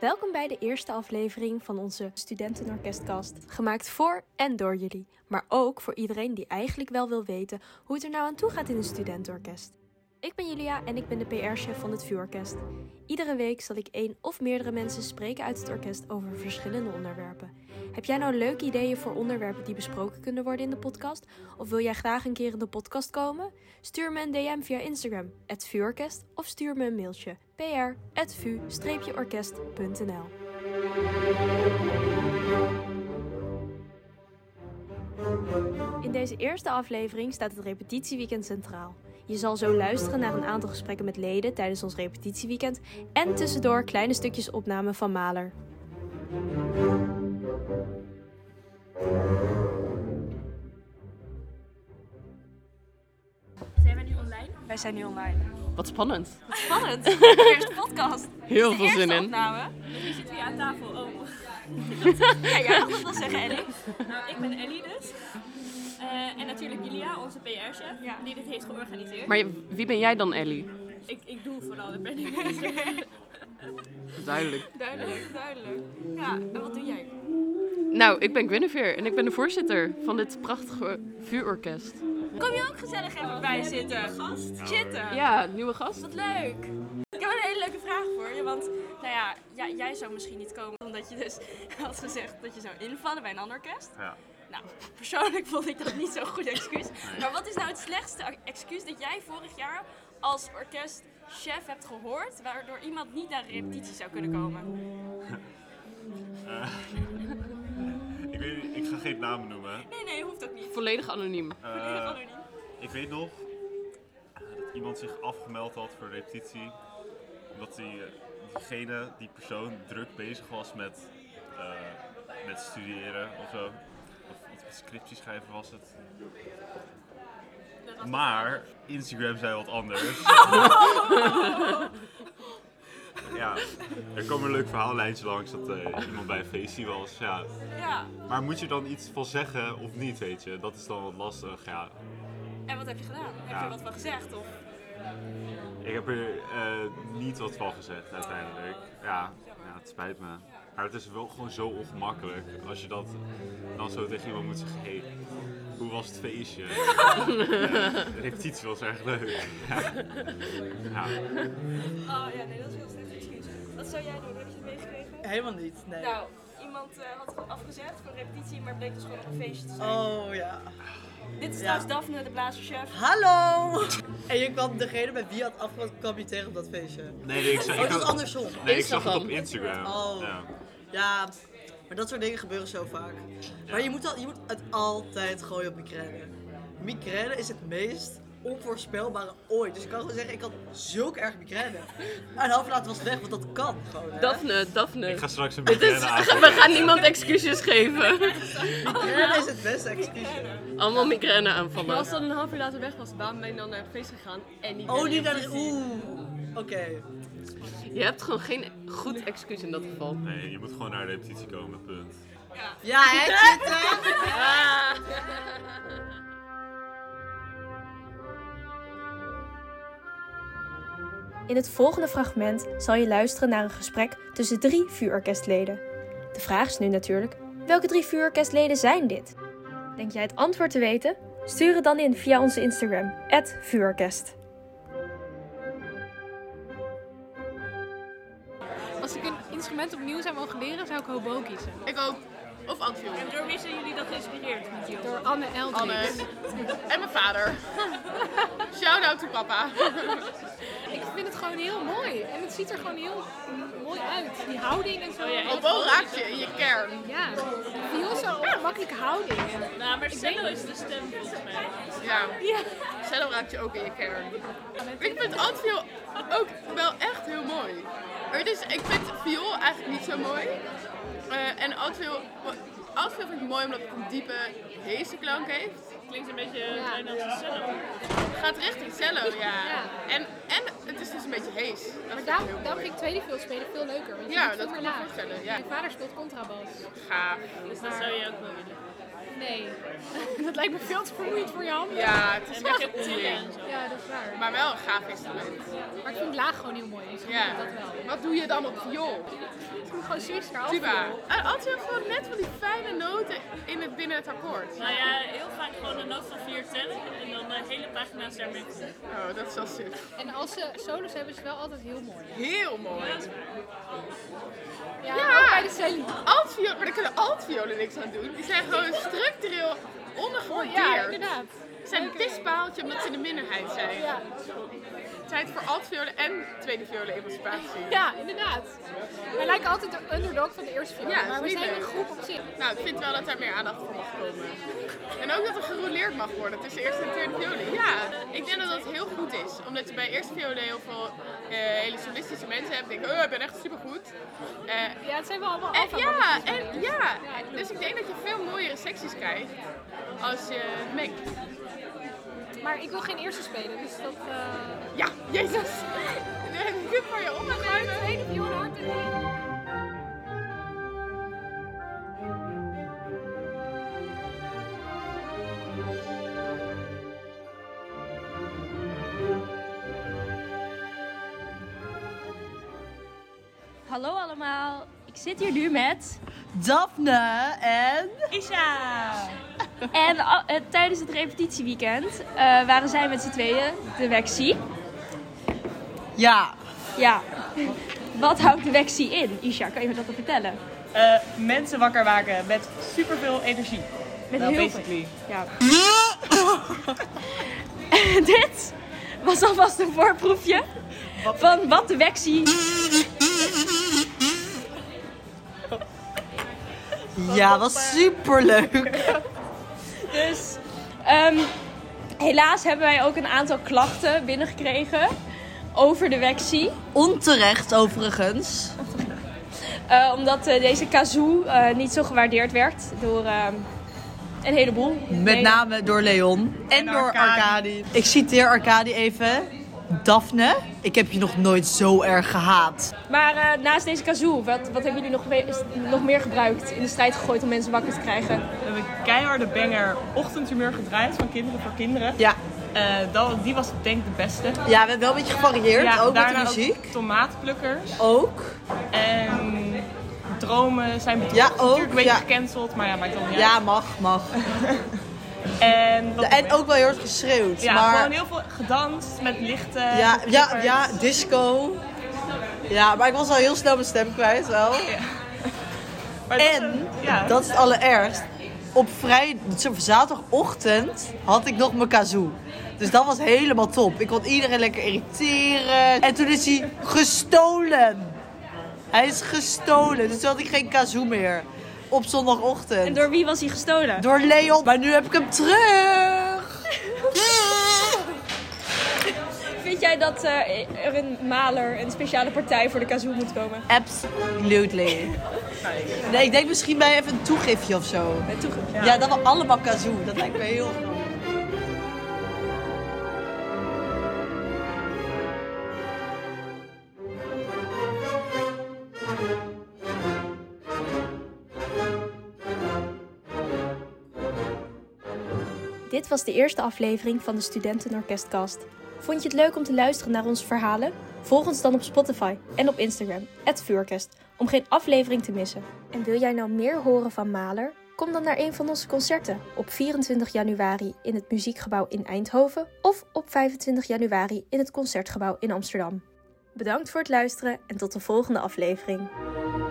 Welkom bij de eerste aflevering van onze Studentenorkestkast. Gemaakt voor en door jullie, maar ook voor iedereen die eigenlijk wel wil weten hoe het er nou aan toe gaat in een studentenorkest. Ik ben Julia en ik ben de PR-chef van het VU-orkest. Iedere week zal ik één of meerdere mensen spreken uit het orkest over verschillende onderwerpen. Heb jij nou leuke ideeën voor onderwerpen die besproken kunnen worden in de podcast? Of wil jij graag een keer in de podcast komen? Stuur me een DM via Instagram, het VU-orkest, of stuur me een mailtje, pr.vu-orkest.nl In deze eerste aflevering staat het repetitieweekend centraal. Je zal zo luisteren naar een aantal gesprekken met leden tijdens ons repetitieweekend en tussendoor kleine stukjes opname van Maler. Zijn wij nu online? Wij zijn nu online. Wat spannend. Spannend! De eerste podcast. Heel De veel eerste zin in. opname. Wie zit hier aan tafel? Oh. Ja, jij mag dat wel zeggen, Ellie. Nou, ik ben Ellie dus. Eh, en natuurlijk Julia, onze PR-chef, Ja. die dit heeft georganiseerd. Maar je- wie ben jij dan, Ellie? Ik, ik doe vooral de planning. Duidelijk. Duidelijk, duidelijk. Ja, en wat doe jij? Nou, ik ben Guinevere en ik ben de voorzitter van dit prachtige vuurorkest. Kom je ook gezellig Oh, even bij zitten? Gast. Zitten. Ja, nieuwe gast. Wat leuk. Ik heb een hele leuke vraag voor je, want nou ja, ja, jij zou misschien niet komen omdat je dus had gezegd dat je zou invallen bij een ander orkest. Ja. Nou, persoonlijk vond ik dat niet zo'n goed excuus. Maar wat is nou het slechtste excuus dat jij vorig jaar als orkestchef hebt gehoord, waardoor iemand niet naar de repetitie zou kunnen komen? Ik, weet, niet, ik ga geen namen noemen. Nee, nee, hoeft ook niet. Volledig anoniem. Eh, anoniem. ik weet nog eh, dat iemand zich afgemeld had voor repetitie. Omdat die, eh, diegene, die persoon, druk bezig was met, eh, met studeren of zo. Of iets met scriptie schrijven was het. Maar Instagram zei wat anders. ja, er kwam een leuk verhaallijntje langs dat eh, iemand bij een feestje was. Ja, Ja. Maar moet je dan iets van zeggen of niet, weet je? Dat is dan wat lastig, ja. En wat heb je gedaan? Heb je Ja. er wat van gezegd? Of? Mm, Ik heb er eh, niet wat van gezegd uiteindelijk. Ja, ja, het spijt me. Maar het is wel gewoon zo ongemakkelijk als je dat dan zo tegen iemand moet zeggen. Hey, hoe was het feestje? ja, de repetitie was erg leuk. Ja. Ja. Oh ja, nee, dat is heel slecht excuus. Wat zou jij doen? Heb je het meegekregen? Helemaal niet, nee. Nou, iemand eh, had gewoon afgezegd voor repetitie, maar bleek dus gewoon op een feestje te zijn. Oh ja. Dit is ja. trouwens Daphne, de blazerchef. Hallo! En je kwam degene bij wie je had afgesproken, kwam je tegen op dat feestje. Nee, nee, ik, zag- Oh, ik, dat is had- andersom. nee, ik zag het op Instagram. Instagram. Oh. Ja. Ja, maar dat soort dingen gebeuren zo vaak. Maar je moet, al, je moet het altijd gooien op migraine. Migraine is het meest onvoorspelbare ooit. Dus ik kan gewoon zeggen, ik had zulk erg migraine. En een half uur later was het weg, want dat kan gewoon. hè. Daphne, Ik ga Daphne. straks een Het is, migraine aanzetten. we gaan niemand excuses geven. Migraine is het beste excuus. Allemaal migraine aanvallen. Als dat een half uur later weg was, waarom ben je dan naar een feest gegaan en niet Oh, naar de niet naar de... repetitie? Oeh. Oké. Je hebt gewoon geen goed excuus in dat geval. Nee, je moet gewoon naar de repetitie komen, punt. Ja, hè, Twitter? In het volgende fragment zal je luisteren naar een gesprek tussen drie vuurorkestleden. De vraag is nu natuurlijk, welke drie vuurorkestleden zijn dit? Denk jij het antwoord te weten? Stuur het dan in via onze Instagram, vuurorkest. Als ik een instrument opnieuw zou mogen leren, zou ik hobo kiezen. Ik ook. Of Antwiel. En door wie zijn jullie dat geïnspireerd? met jullie? Door Anne Eldring. Anne. En mijn vader. Shout out to papa. Ik vind het gewoon heel mooi. En het ziet er gewoon heel mooi uit. Die houding en zo. Oh Hobo raakt je in je kern. Ja. Viool zo makkelijke houding. Nou, maar cello is de stem volgens mij. Ja. Ja. Cello raakt je ook in je kern. Ik vind Antwiel ook wel echt heel mooi. Maar het is, ik vind viool eigenlijk niet zo mooi. Eh, en Antwiel, Antwiel vind ik mooi omdat het een diepe, heese klank heeft. Klinkt een beetje bijna als een cello. Gaat richting cello, ja. Ja. En, en het is dus een beetje hees. Dat vind Maar ik daarom, heel daarom mooi. vind ik tweede viool spelen veel leuker. Want je Ja, moet veel dat meer kan ik me laag. voorstellen, ja. Mijn vader speelt contrabas. gaaf. Dus dat zou je ook wel willen. Nee. dat lijkt me veel te vermoeiend voor je handen. Ja, het is En wel met het tillen en zo. Ja, dat is waar. Maar, Maar wel een gaaf instrument. ik vind laag gewoon heel mooi. Dus ik Ja. vind dat wel. Wat doe je dan op viool? Ik vind gewoon Zwitser af. Tuba. En altijd gewoon net van die fijne noten in het, binnen het akkoord. Nou ja, heel vaak gewoon een noot van vier tellen en dan eh, hele pagina's daarmee. vullen. Oh, dat is wel zit. En als ze solos hebben, is het wel altijd heel mooi. Heel mooi. Ja, Ja. ook bij de cello. Altviolen, maar daar kunnen altviolen niks aan doen. Die zijn gewoon structureel Ja, ondergewaardeerd. inderdaad. Ze zijn een pispaaltje omdat ze in de minderheid zijn. Ja. Tijd voor altviolen en tweede violen emancipatie. ja, inderdaad. Wij lijken altijd de underdog van de eerste viool. Ja, maar we is niet zijn een leuk. groep op zich. Nou, ik vind wel dat daar meer aandacht voor mag komen. En ook dat er gerouleerd mag worden tussen eerste en tweede violen. Ja, ik denk dat dat heel goed is. Omdat je bij eerste violen heel veel eh, hele solistische mensen hebt. Denk, oh, ik ben echt supergoed. Eh, Ja, het zijn wel allemaal En, alfa ja, en, ja, dus ik denk dat je veel mooiere secties krijgt als je het mengt. Maar ik wil geen eerste spelen, dus dat... eh, Ja, jezus! Nu heb ik het voor je omgeruimd. tweede viool hard en Hallo allemaal, ik zit hier nu met. Daphne en... En a- eh, tijdens het repetitieweekend eh, waren zij met z'n tweeën de Wexie. Ja, Ja, wat houdt de Wexie in? Isha, kan je me dat dan vertellen? Eh, mensen wakker maken met superveel energie. Met Wel, heel basically. veel- Dit was alvast een voorproefje van wat de Wexie. ja, was superleuk. Dus ehm, helaas hebben wij ook een aantal klachten binnengekregen over de Wexie. Onterecht overigens. Eh, omdat eh, deze kazoo eh, niet zo gewaardeerd werd door ehm, een heleboel. Met Nee. name door Leon en, door Arcadi. Arkadi. Ik citeer Arcadi even. Daphne, ik heb je nog nooit zo erg gehaat. Maar eh, naast deze kazoo, wat, wat hebben jullie nog, we- nog meer gebruikt in de strijd gegooid om mensen wakker te krijgen? We hebben een keiharde banger ochtendhumeur gedraaid van Kinderen voor Kinderen. Ja, Eh, dat, die was denk ik de beste. ja we hebben wel een beetje gevarieerd, ook met de daarna muziek. tomaatplukkers. Ook. En dromen zijn bedrogen. Ja, ook, Natuurlijk een beetje ja. gecanceld, maar ja, maakt dan niet Ja, uit. mag, mag. En, wat- En ook wel heel hard geschreeuwd. ja, maar gewoon heel veel gedanst met lichten. ja, Ehm, met ja, flippers. ja, disco. Ja, maar ik was al heel snel mijn stem kwijt wel. Maar dat En, is- ja. dat is het allerergst. Op vrij, z- zaterdagochtend had ik nog mijn kazoo. Dus dat was helemaal top. Ik kon iedereen lekker irriteren. En toen is hij gestolen. Hij is gestolen. Dus toen had ik geen kazoo meer. Op zondagochtend. En door wie was hij gestolen? Door Leon. Maar nu heb ik hem terug. Vind jij dat eh, er een maler, een speciale partij voor de kazoo moet komen? Absolutely. Nee, ik denk misschien bij even een toegifje of zo. Met toege- Ja, dat we allemaal kazoo. Dat lijkt me heel goed. Dit was de eerste aflevering van de Studentenorkestcast. Vond je het leuk om te luisteren naar onze verhalen? Volg ons dan op Spotify en op Instagram, vuurorkest, om geen aflevering te missen. En wil jij nou meer horen van Maler? Kom dan naar een van onze concerten op 24 januari in het Muziekgebouw in Eindhoven of op 25 januari in het Concertgebouw in Amsterdam. Bedankt voor het luisteren en tot de volgende aflevering.